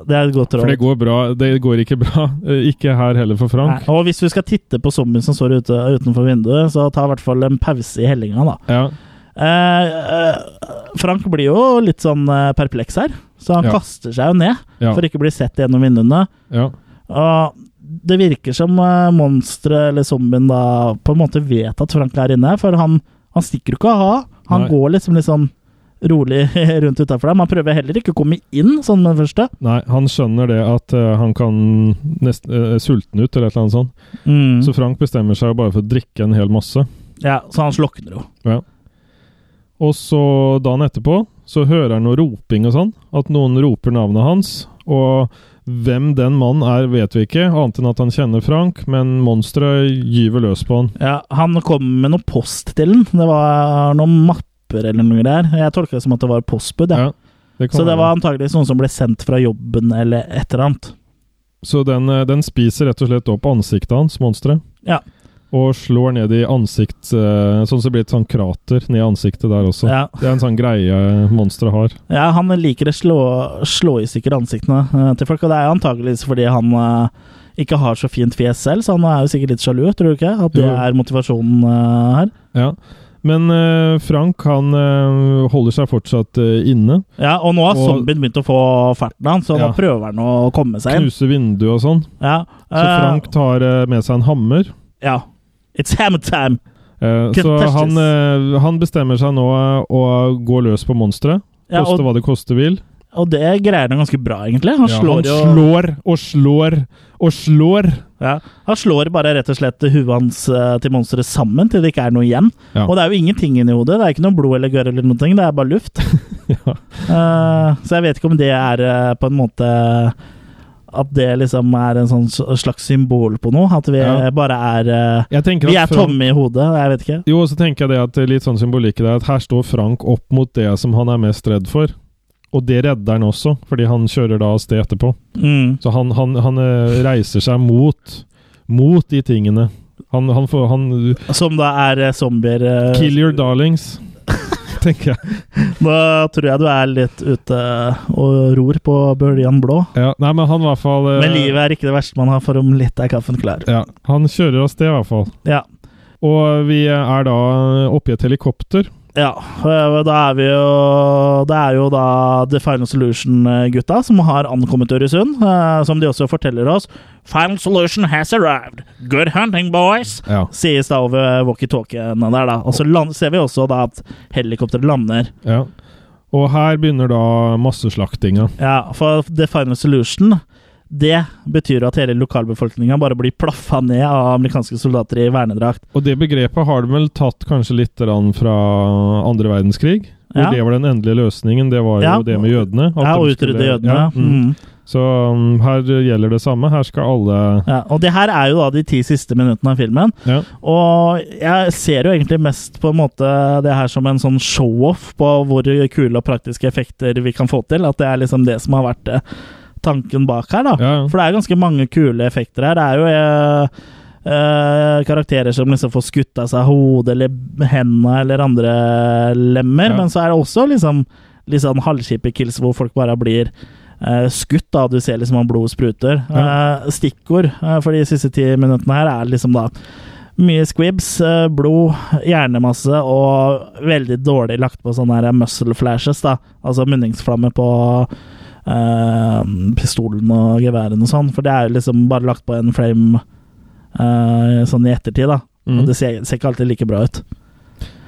B: Det er et godt
C: For det
B: råd.
C: går bra. Det går ikke bra. Eh, Ikke her heller for
B: Nei.
C: Frank.
B: Og hvis du skal titte på zombien som står ute, utenfor vinduet, så ta i hvert fall en pause i hellinga, da.
C: Ja.
B: Eh, eh, Frank blir jo litt sånn eh, perpleks her, så han
C: Ja.
B: kaster seg jo ned
C: Ja.
B: for ikke å bli sett gjennom vinduene.
C: ja.
B: Og det virker som uh, monsteret eller zombien da på en måte vet at Frank er inne, for han, han stikker jo ikke av. Han
C: Nei.
B: går liksom litt sånn rolig rundt utafor dem. Han prøver heller ikke å komme inn sånn med det første.
C: Nei, han skjønner det at eh, han kan nesten eh, sulte den ut, eller et eller annet sånt.
B: Mm.
C: Så Frank bestemmer seg jo bare for å drikke en hel masse.
B: ja, så han slokner jo.
C: Og så dagen etterpå så hører han noe roping og sånn. At noen roper navnet hans. Og hvem den mannen er, vet vi ikke, annet enn at han kjenner Frank, men monsteret gyver løs på han.
B: Ja, han kom med noe post til den. Det var noen mapper eller noe greier. Jeg tolka det som at det var postbud. Ja.
C: Ja, det kan
B: Så det
C: være.
B: var antageligvis noen som ble sendt fra jobben eller et eller annet.
C: så den, eh, den spiser rett og slett opp ansiktet hans, monsteret.
B: Ja.
C: Og slår ned i ansikt eh, Sånn så det blir et sånn krater ned i ansiktet der også.
B: Ja.
C: Det er en sånn greie monsteret har.
B: Ja, han liker å slå, slå i stykker ansiktene eh, til folk, og det er jo antakeligvis fordi han eh, ikke har så fint fjes selv, så han er jo sikkert litt sjalu, tror du ikke? At det
C: Jo.
B: er motivasjonen eh, her.
C: Ja. Men eh, Frank han eh, holder seg fortsatt eh, inne.
B: Ja, og nå har
C: Og-
B: zombien begynt å få farten av han, så
C: Ja.
B: nå prøver han å komme seg inn.
C: Knuser vinduet og sånn.
B: Ja,
C: Så
B: eh,
C: Frank tar eh, med seg en hammer.
B: Ja. It's hammer time!
C: Eh,
B: Get
C: Så
B: touches.
C: han, eh, han bestemmer seg nå eh, å gå løs på monsteret.
B: Ja, og,
C: Koste hva det koste vil.
B: og det greier han ganske bra, egentlig. Han
C: Ja,
B: slår jo
C: han slår og slår og slår.
B: ja, Han slår bare rett og slett huet hans eh, til monsteret sammen til det ikke er noe igjen.
C: Ja.
B: Og det er jo ingenting inni hodet. Det er ikke noe blod eller gørr eller noe, det er bare luft. Eh, så jeg vet ikke om det er eh, på en måte At det liksom er en sånn s- slags symbol på noe. At vi
C: Ja.
B: bare er eh,
C: Jeg tenker
B: Vi
C: at
B: er
C: Frank-
B: tomme i hodet. Jeg vet ikke.
C: Jo, og så tenker jeg det at det er litt sånn symbolikk i det, at her står Frank opp mot det som han er mest redd for. Og det redder han også, fordi han kjører da av sted etterpå.
B: Mm.
C: Så han, han, han eh, reiser seg mot, mot de tingene. Han, han får han,
B: Som da er eh, zombier. eh,
C: Kill your darlings, tenker jeg.
B: Da tror jeg du er litt ute eh, og ror på bøljan blå.
C: Ja, nei, men han i hvert fall eh,
B: Men livet er ikke det verste man har, for om litt er kaffen klar.
C: ja, Han kjører av sted, i hvert fall.
B: Ja.
C: Og vi er da oppi et helikopter.
B: Ja, øh, da er vi jo Det er jo da The Final Solution-gutta som har ankommet Øresund. øh, Som de også forteller oss. Final Solution has arrived. Good hunting, boys!
C: Ja.
B: Sies da over walkietalkiene der, da. Og så land, ser vi også da at helikopteret lander.
C: Og her begynner da masseslaktinga.
B: Ja, for The Final Solution det betyr jo at hele lokalbefolkninga bare blir plaffa ned av amerikanske soldater i vernedrakt.
C: Og det begrepet har de vel tatt kanskje litt grann fra andre verdenskrig. Hvor
B: Ja.
C: det var den endelige løsningen. Det var
B: Ja.
C: jo det med jødene.
B: Ja,
C: at de
B: og
C: skulle-
B: utrydde jødene.
C: Ja, mm.
B: Mm.
C: Så um, her gjelder det samme. Her skal alle
B: Ja, og det her er jo da de ti siste minuttene av filmen.
C: Ja.
B: Og jeg ser jo egentlig mest på en måte det her som en sånn show-off på hvor kule og praktiske effekter vi kan få til. At det er liksom det som har vært eh, tanken bak her, da.
C: ja.
B: For det er ganske mange kule effekter her. Det er jo eh, eh, karakterer som liksom får skutt av seg hodet eller hendene eller andre lemmer.
C: Ja.
B: Men så er det også liksom litt sånn halvkjipe kills hvor folk bare blir eh, skutt. da, Du ser liksom om blodet spruter. Eh, stikkord eh, for de siste ti minuttene her er liksom da mye squibs, eh, blod, hjernemasse og veldig dårlig lagt på sånne her muscle flashes, da. Altså munningsflamme på eh, pistolen og geværen og sånn. For det er jo liksom bare lagt på en frame eh, sånn i ettertid, da.
C: Mm.
B: Og det ser, ser ikke alltid like bra ut.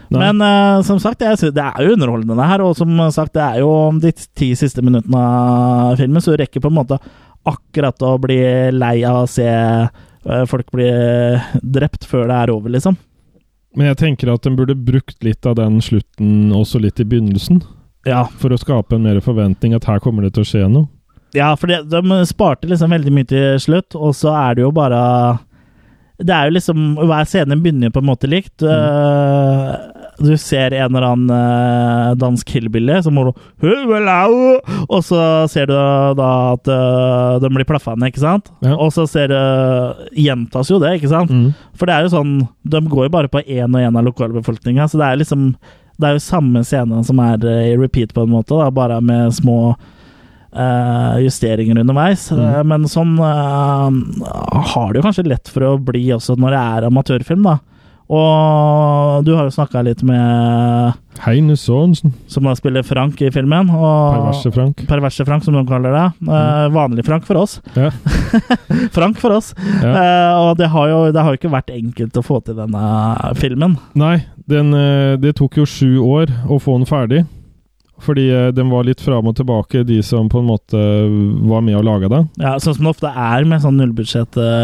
C: Nei.
B: Men eh, som sagt, jeg synes, det er jo underholdende det her, og som sagt, det er jo de ti siste minuttene av filmen, så du rekker på en måte akkurat å bli lei av å se eh, folk bli drept før det er over, liksom.
C: Men jeg tenker at de burde brukt litt av den slutten også litt i begynnelsen.
B: Ja,
C: For å skape en mer forventning at her kommer det til å skje noe.
B: ja for det, de sparte liksom veldig mye til slutt, og så er det jo bare Det er jo liksom Hver scene begynner jo på en måte likt. Eh, Du ser en eller annen eh, dansk hillbilly som holder «Huvelau!» Og så ser du da at eh, de blir plaffa ned, ikke sant?
C: Ja.
B: Og så ser du Gjentas jo det, ikke sant? For det er jo sånn De går jo bare på én og én av lokalbefolkninga, så det er liksom Det er jo samme scene som er eh, i repeat, på en måte, da, bare med små eh, justeringer underveis.
C: Mm.
B: Eh, men sånn eh, har det jo kanskje lett for å bli også når det er amatørfilm, da. Og du har jo snakka litt med
C: Heine Sørensen.
B: Som da spiller Frank i filmen. Og
C: Perverse Frank.
B: Perverse Frank, som de kaller det. Eh, vanlig Frank for oss.
C: Ja.
B: Frank for oss.
C: Ja.
B: Eh, og det har, jo, det har jo ikke vært enkelt å få til denne filmen.
C: Nei, den, eh, det tok jo sju år å få den ferdig. Fordi eh, den var litt fram og tilbake, de som på en måte eh, var med og laga den.
B: Ja, sånn som det ofte er med sånn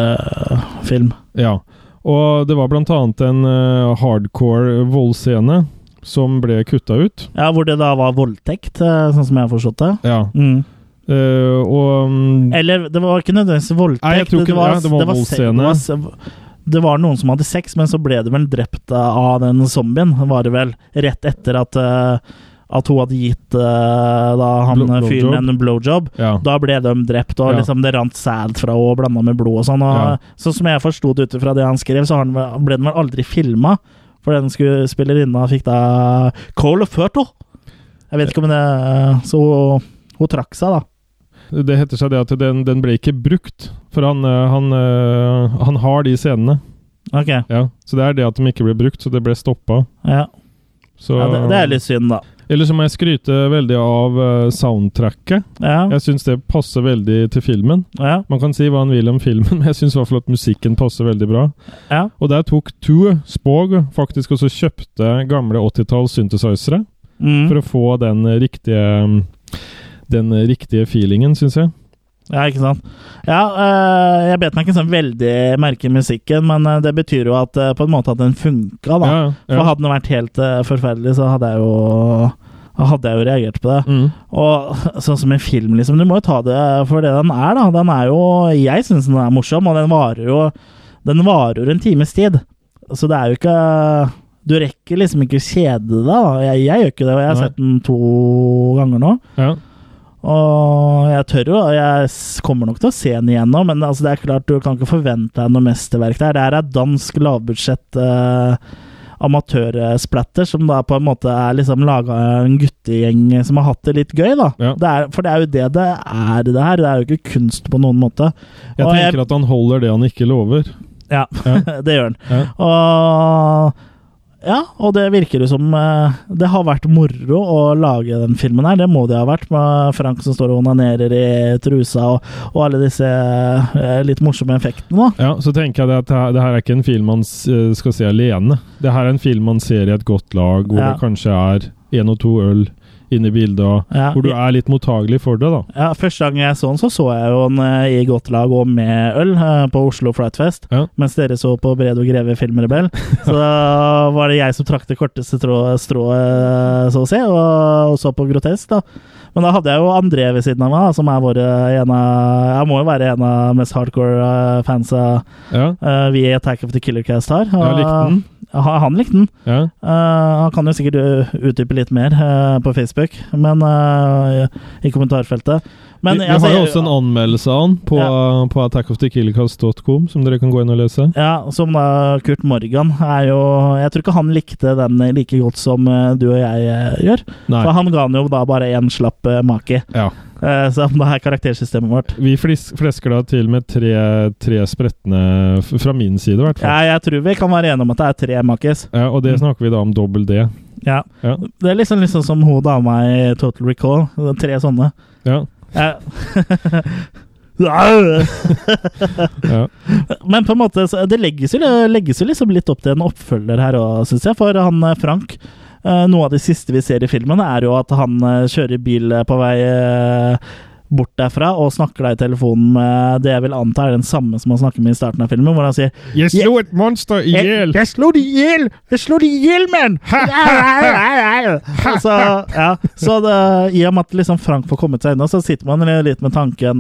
B: nullbudsjettfilm.
C: Ja. Og det var blant annet en eh, hardcore voldscene som ble kutta ut.
B: ja, hvor det da var voldtekt, eh, sånn som jeg har forstått det.
C: Ja.
B: Mm.
C: Eh, og mm,
B: Eller det var ikke nødvendigvis voldtekt.
C: Nei, jeg tror ikke det. Ja, det
B: se-
C: var voldsscene.
B: det var se- Det var noen som hadde sex, men så ble det vel drept av den zombien, var det vel. Rett etter at, eh, at hun hadde gitt eh, da han
C: Blow-
B: fyren en blowjob.
C: ja.
B: Da ble de drept, og
C: Ja.
B: liksom det rant sæd fra henne, blanda med blod og sånn. Og,
C: Ja.
B: Sånn som jeg forsto det ut ifra det han skrev, så har han vel- ble den vel aldri filma. For den skuespillerinna fikk da Cole Furtle. Jeg vet ikke om det Så hun, hun trakk seg, da.
C: Det heter seg det at den, den ble ikke brukt, for han, eh, han, eh, han har de scenene.
B: Ok,
C: Ja. Så det er det at de ikke ble brukt, så det ble stoppa.
B: ja.
C: Så,
B: ja det, det er litt synd, da.
C: Eller så må jeg skryte veldig av eh, soundtracket.
B: Ja,
C: Jeg syns det passer veldig til filmen.
B: ja,
C: Man kan si hva en vil om filmen, men jeg syns i hvert fall at musikken passer veldig bra.
B: ja.
C: Og der tok Two Spog faktisk også kjøpte gamle 80-talls synthesizere
B: Mm.
C: for å få den riktige den riktige feelingen, syns jeg.
B: ja ikke sant. Ja, eh, jeg bet meg ikke sånn veldig merke i musikken, men eh, det betyr jo at eh, på en måte at den funka, da.
C: Ja, ja.
B: For hadde den vært helt eh, forferdelig, så hadde jeg jo hadde jeg jo reagert på det.
C: Mm.
B: Og sånn som en film, liksom. Du må jo ta det for det den er, da. Den er jo Jeg syns den er morsom, og den varer jo Den varer en times tid. Så det er jo ikke Du rekker liksom ikke å kjede deg, da. Jeg, jeg gjør ikke det, og jeg har
C: Nei.
B: sett den to ganger nå.
C: ja.
B: Og jeg tør jo, og jeg s- kommer nok til å se den igjen nå, men altså, det er klart du kan ikke forvente deg noe mesterverk der. Det her er dansk lavbudsjett eh, amatørsplatter, som da på en måte er liksom laga av en guttegjeng som har hatt det litt gøy, da.
C: Ja.
B: Det er, for det er jo det det er, det her. Det er jo ikke kunst på noen måte.
C: Jeg
B: Og
C: tenker at han holder det han ikke lover.
B: Ja,
C: Ja.
B: det gjør den.
C: Ja.
B: Og ja, og det virker jo som eh, det har vært moro å lage den filmen her. Det må det ha vært, med Frank som står og onanerer i trusa, og, og alle disse eh, litt morsomme effektene. da.
C: Ja, så tenker jeg det at det her- det her er ikke en film man s- eh, skal se alene. Det her er en film man ser i et godt lag, hvor
B: Ja.
C: det kanskje er én og to øl inne i bildet, og
B: Ja.
C: hvor du er litt mottagelig for det, da.
B: Ja, Første gang jeg så den, så så jeg jo den eh, i godt lag og med øl eh, på Oslo Frightfest.
C: Ja.
B: Mens dere så på Bredo Greve Filmrebell. Så da var det jeg som trakk det korteste trå- strået, eh, så å si, og, og så på Grotesk, da. Men da hadde jeg jo André ved siden av meg, da, som er våre en av Jeg må jo være en av mest hardcore eh, fansa
C: Ja,
B: eh, vi i Attack of the Killer Cast har.
C: jeg
B: Ah.
C: likte den.
B: Han, han likte den.
C: Ja.
B: Eh, han kan jo sikkert eh, utdype litt mer eh, på Facebook, men eh, i kommentarfeltet. Men,
C: vi, vi
B: altså,
C: har jo
B: jeg-
C: også en anmeldelse av den på, på attackofthekillcast.com, som dere kan gå inn og lese.
B: Ja, som da Kurt Morgan er jo Jeg tror ikke han likte den like godt som eh, du og jeg eh, gjør.
C: Nei.
B: For han ga den jo da bare én slapp eh, maki,
C: Ja.
B: eh, som da er karaktersystemet vårt.
C: Vi flis, flesker da til med tre, tre spretne f- Fra min side, i hvert fall.
B: Ja, jeg tror vi kan være enige om at det er tre makis.
C: Ja, og det snakker vi da om dobbel D.
B: Ja.
C: Ja.
B: Det er liksom, liksom som hun dama i Total Recall. Tre sånne.
C: Ja,
B: Ja.
C: ja.
B: Men på en måte, så- det legges jo, det legges jo liksom litt opp til en oppfølger her òg, syns jeg. For han eh, Frank eh, Noe av det siste vi ser i filmen, er jo at han eh, kjører bil eh, på vei eh, bort derfra og snakker da i telefonen med det jeg vil anta er den samme som han snakker med i starten av filmen, hvor han sier
D: Jeg slo et monster i hjel!
B: jeg slo det i hjel! Jeg slo det i hjel, mann! så ja, så det, i og med at liksom Frank får kommet seg unna, så sitter man litt med tanken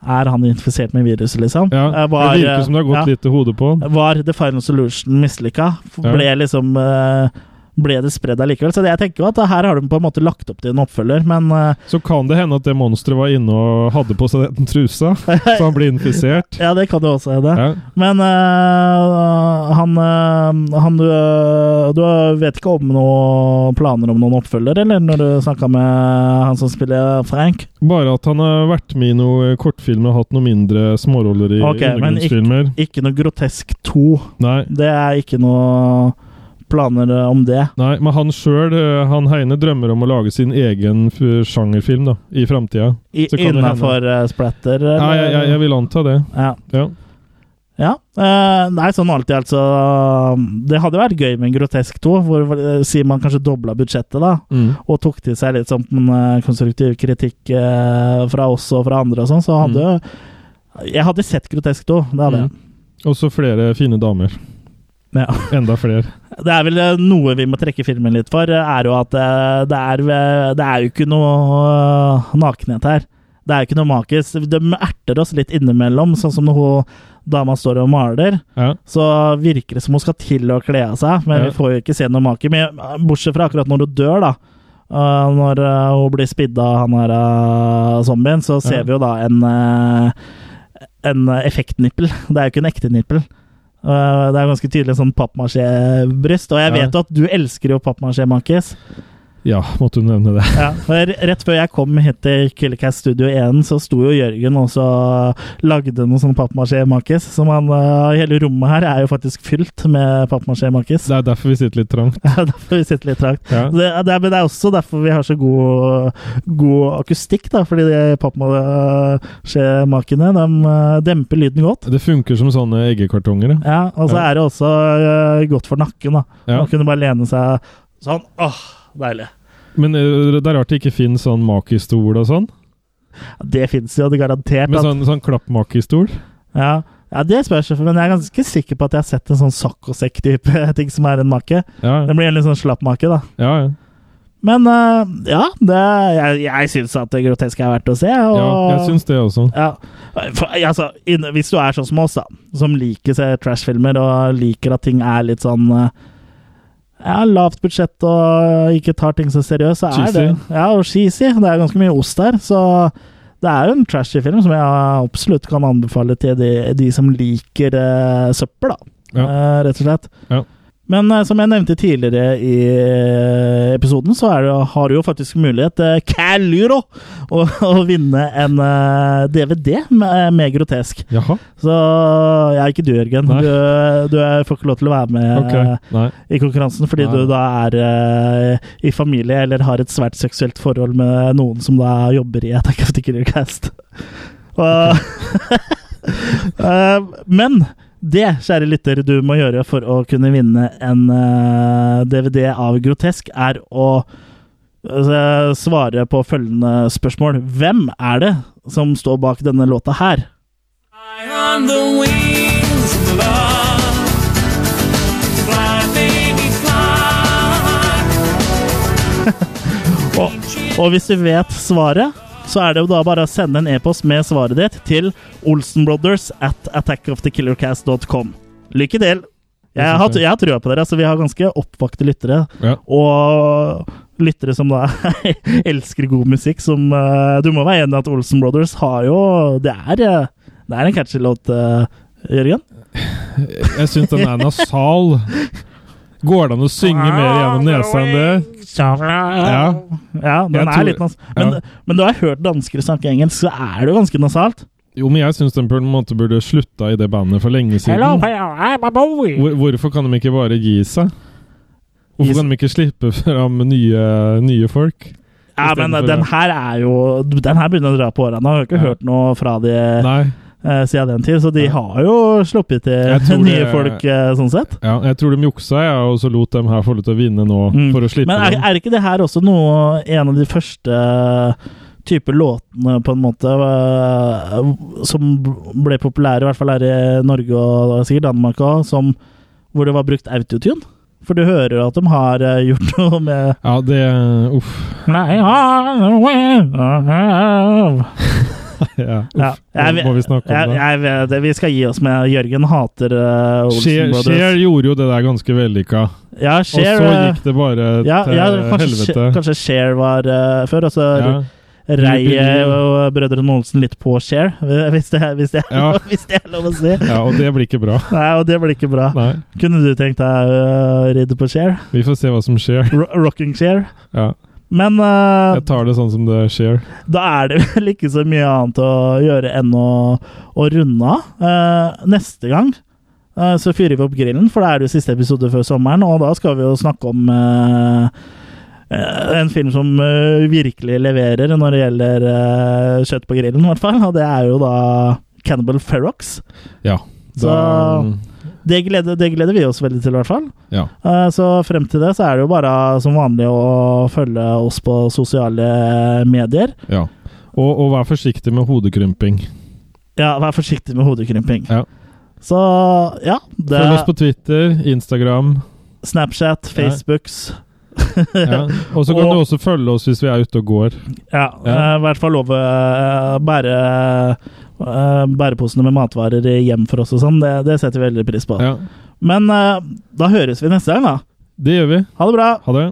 B: Er han infisert med viruset, liksom?
C: ja.
B: Eh, var-
C: Det virker som det har gått
B: ja,
C: litt til hodet på han.
B: Var The Final Solution mislykka?
C: Ja.
B: Ble liksom eh, ble det spredd allikevel. Så det jeg tenker jo at her har de på en måte lagt opp til en oppfølger, men eh,
C: Så kan det hende at det monsteret var inne og hadde på seg den trusa, så han blir infisert.
B: ja, det kan jo også hende.
C: Ja.
B: Men eh, han, eh, han du, eh, du vet ikke om noen planer om noen oppfølger, eller når du snakka med han som spiller Frank?
C: Bare at han har vært med i noen kortfilmer og hatt noen mindre småroller i
B: Ok, men ikke-
C: undergrunnsfilmer.
B: Ikke noe grotesk 2.
C: Nei.
B: Det er ikke noe planer om det.
C: Nei, men han sjøl, eh, han Heine, drømmer om å lage sin egen f- sjangerfilm da, i framtida. Så kan det hende.
B: Innafor eh, splatter? eller?
C: Nei, jeg, jeg, jeg vil anta det.
B: Ja.
C: Ja.
B: Ja. eh, nei, sånn alltid, altså. Det hadde vært gøy med en grotesk 2, hvor eh, sier man kanskje dobla budsjettet, da.
C: Mm.
B: og tok til seg litt sånn eh, konstruktiv kritikk eh, fra oss og fra andre og sånn, så hadde jo Jeg hadde sett Grotesk 2, det hadde jeg.
C: Og så flere fine damer.
B: Ja.
C: Enda flere.
B: Det er vel eh, noe vi må trekke filmen litt for, eh, er jo at eh, det er, eh, det er jo ikke noe eh, nakenhet her. Det er jo ikke noe makis. De erter oss litt innimellom, sånn som når hun dama står og maler.
C: Ja.
B: Så virker det som hun skal til å kle av seg, men
C: Ja.
B: vi får jo ikke se noe make. Men eh, bortsett fra akkurat når hun dør, da. øh, når øh, hun blir spidd av han her øh, zombien, så ser
C: Ja.
B: vi jo da en øh, En øh, effektnippel. Det er jo ikke en ekte nippel. Øh, det er ganske tydelig en sånn pappmasjé-bryst. Og jeg
C: Ja.
B: vet jo at du elsker jo pappmasjé, Mankis.
C: ja, måtte du nevne det.
B: Ja, for rett før jeg kom hit til Killercast Studio 1, så sto jo Jørgen og så lagde noen sånne pappmasjé-makis. Som han øh, Hele rommet her er jo faktisk fylt med pappmasjé-makis.
C: Det er derfor vi sitter litt trangt.
B: Det er derfor vi sitter litt trakt.
C: Ja.
B: Det, det, er- men det er også derfor vi har så god, god akustikk, da. Fordi de pappmasjé-makene, de øh, demper lyden godt.
C: Det funker som sånne eggekartonger. ja.
B: Ja, og så
C: Ja.
B: er det også øh, godt for nakken, da.
C: Ja.
B: Man kunne bare lene seg sånn. Åh, deilig.
C: Men eh, det er rart det ikke finnes sånn makistol og sånn.
B: Det fins jo, det er garantert.
C: Med
B: at-
C: sånn, sånn klappmakistol.
B: Ja, ja det spørs, men jeg er ganske sikker på at jeg har sett en sånn saccosekk-type ting som er en make.
C: Ja,
B: Den blir en litt sånn slapp make, da.
C: ja, ja.
B: Men øh, ja, det, jeg, jeg syns at det groteske er verdt å se. Og,
C: ja jeg syns det også.
B: Ja. For, altså, inn- hvis du er sånn som oss, da, som liker se trashfilmer og liker at ting er litt sånn eh, ja, Lavt budsjett og ikke tar ting så seriøst, så er det Ja, og cheesy. Det er ganske mye ost der, så det er jo en trashy film som jeg absolutt kan anbefale til de, de som liker eh, søppel, da.
C: Ja.
B: Eh, rett og slett.
C: Ja.
B: Men eh, som jeg nevnte tidligere i eh, episoden, så er det, jo- har du jo faktisk mulighet uh, Calyro! å, å vinne en eh, DVD med, med grotesk.
C: Jaha?
B: Så jeg er ikke du, Jørgen.
C: Nei.
B: Du, du er- får ikke lov til å være med
C: Ok.
B: eh,
C: Nei.
B: i konkurransen fordi
C: Nei.
B: du da er eh, i familie eller har et svært seksuelt forhold med noen som da jobber i Attack of the Killer Cast. Og, Eh, men det, kjære lytter, du må gjøre for å kunne vinne en eh, DVD av Grotesk, er å eh, svare på følgende spørsmål. Hvem er det som står bak denne låta her?
E: Fly on the wings of love. Fly, baby, fly.
B: Og, og hvis du vet svaret, så er det jo da bare å sende en e-post med svaret ditt til olsenbrothers at attackofthekillercast.com. Lykke til! Jeg har, jeg har trua på dere. altså Vi har ganske oppvakte lyttere.
C: Ja.
B: Og lyttere som da elsker god musikk. Som eh, Du må være enig i at Olsen Brothers har jo Det er, eh, det er en catchy låt, eh, Jørgen.
C: Jeg syns den er nasal. Går det an å synge mer gjennom nesa enn det? Ja.
B: Ja, den er
C: Jeg tror-
B: litt nas men,
C: ja.
B: men du har hørt dansker snakke engelsk, så er det jo ganske nasalt.
C: Jo, men jeg syns den på en måte burde slutta i det bandet for lenge siden. Hvor, hvorfor kan de ikke bare gi seg?
B: Gi
C: Hvorfor
B: seg.
C: kan de ikke slippe fram nye, nye folk?
B: Ja, men
C: Istedenfor-
B: den her er jo Den her begynner å dra på årene. Jeg har jo ikke
C: Ja.
B: hørt noe fra de
C: Nei.
B: eh, siden den tid, så de
C: Ja.
B: har jo sluppet
C: Jeg
B: til
C: tror
B: nye
C: det-
B: folk, eh, sånn sett.
C: Ja, jeg tror de juksa, ja, og så lot dem her få lov til å vinne nå,
B: Mm.
C: for å slippe
B: Men er,
C: dem.
B: er ikke det her også noe En av de første type låtene, på en måte, eh, som ble populære, i hvert fall her i Norge og sikkert Danmark òg, som hvor det var brukt autotune? For du hører jo at de har eh, gjort noe med
C: Ja, det Uff. Ja, uff.
B: Ja, jeg
C: Nå
B: vet-
C: må vi snakke om
B: Jeg,
C: det.
B: jeg, vet det. vi skal gi oss med Jørgen hater eh, Olsen
C: Cher
B: Brothers.
C: Cher gjorde jo det der ganske vellykka.
B: Ja,
C: Og
B: Cher
C: så
B: eh,
C: gikk det bare
B: ja,
C: til
B: ja, kanskje,
C: helvete.
B: Sh- kanskje Cher var eh, før, og så
C: ja.
B: rei
C: Jubilee.
B: og eh, brødrene Olsen litt på Cher, hvis det, hvis det,
C: Ja.
B: hvis det er lov å si.
C: ja, og det blir ikke bra.
B: Nei, og det blir ikke bra.
C: Nei.
B: Kunne du tenkt deg eh, å ridde på Cher?
C: Vi får se hva som skjer.
B: Ro rocking Cher?
C: Ja.
B: Men eh,
C: Jeg tar det sånn som det skjer.
B: da er det vel ikke så mye annet å gjøre enn å, å runde av. Eh, neste gang eh, så fyrer vi opp grillen, for da er det jo siste episode før sommeren, og da skal vi jo snakke om eh, eh, en film som eh, virkelig leverer når det gjelder eh, kjøtt på grillen, i hvert fall. Og det er jo da Cannibal Ferox.
C: Ja. Da,
B: Så- Det gleder, det gleder vi oss veldig til, i hvert fall.
C: ja.
B: Eh, Så frem til det så er det jo bare som vanlig å følge oss på sosiale medier.
C: ja. Og, og vær forsiktig med hodekrymping.
B: Ja, vær forsiktig med hodekrymping.
C: Ja.
B: Så ja, det
C: Følg oss på Twitter, Instagram.
B: Snapchat, Facebooks
C: Ja. Og så kan
B: Og-
C: du også følge oss hvis vi er ute og går.
B: Ja,
C: Ja.
B: eh, i hvert fall love eh, bære eh, bæreposene med matvarer hjem for oss og sånn. Det, det setter vi veldig pris på.
C: Ja.
B: Men eh, da høres vi neste gang, da.
C: Det gjør vi.
B: Ha det bra!
C: Ha det.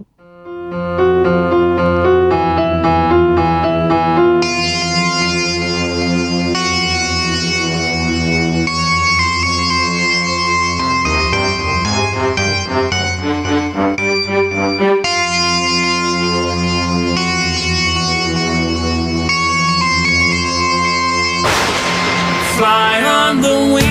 E: Fly on the wings.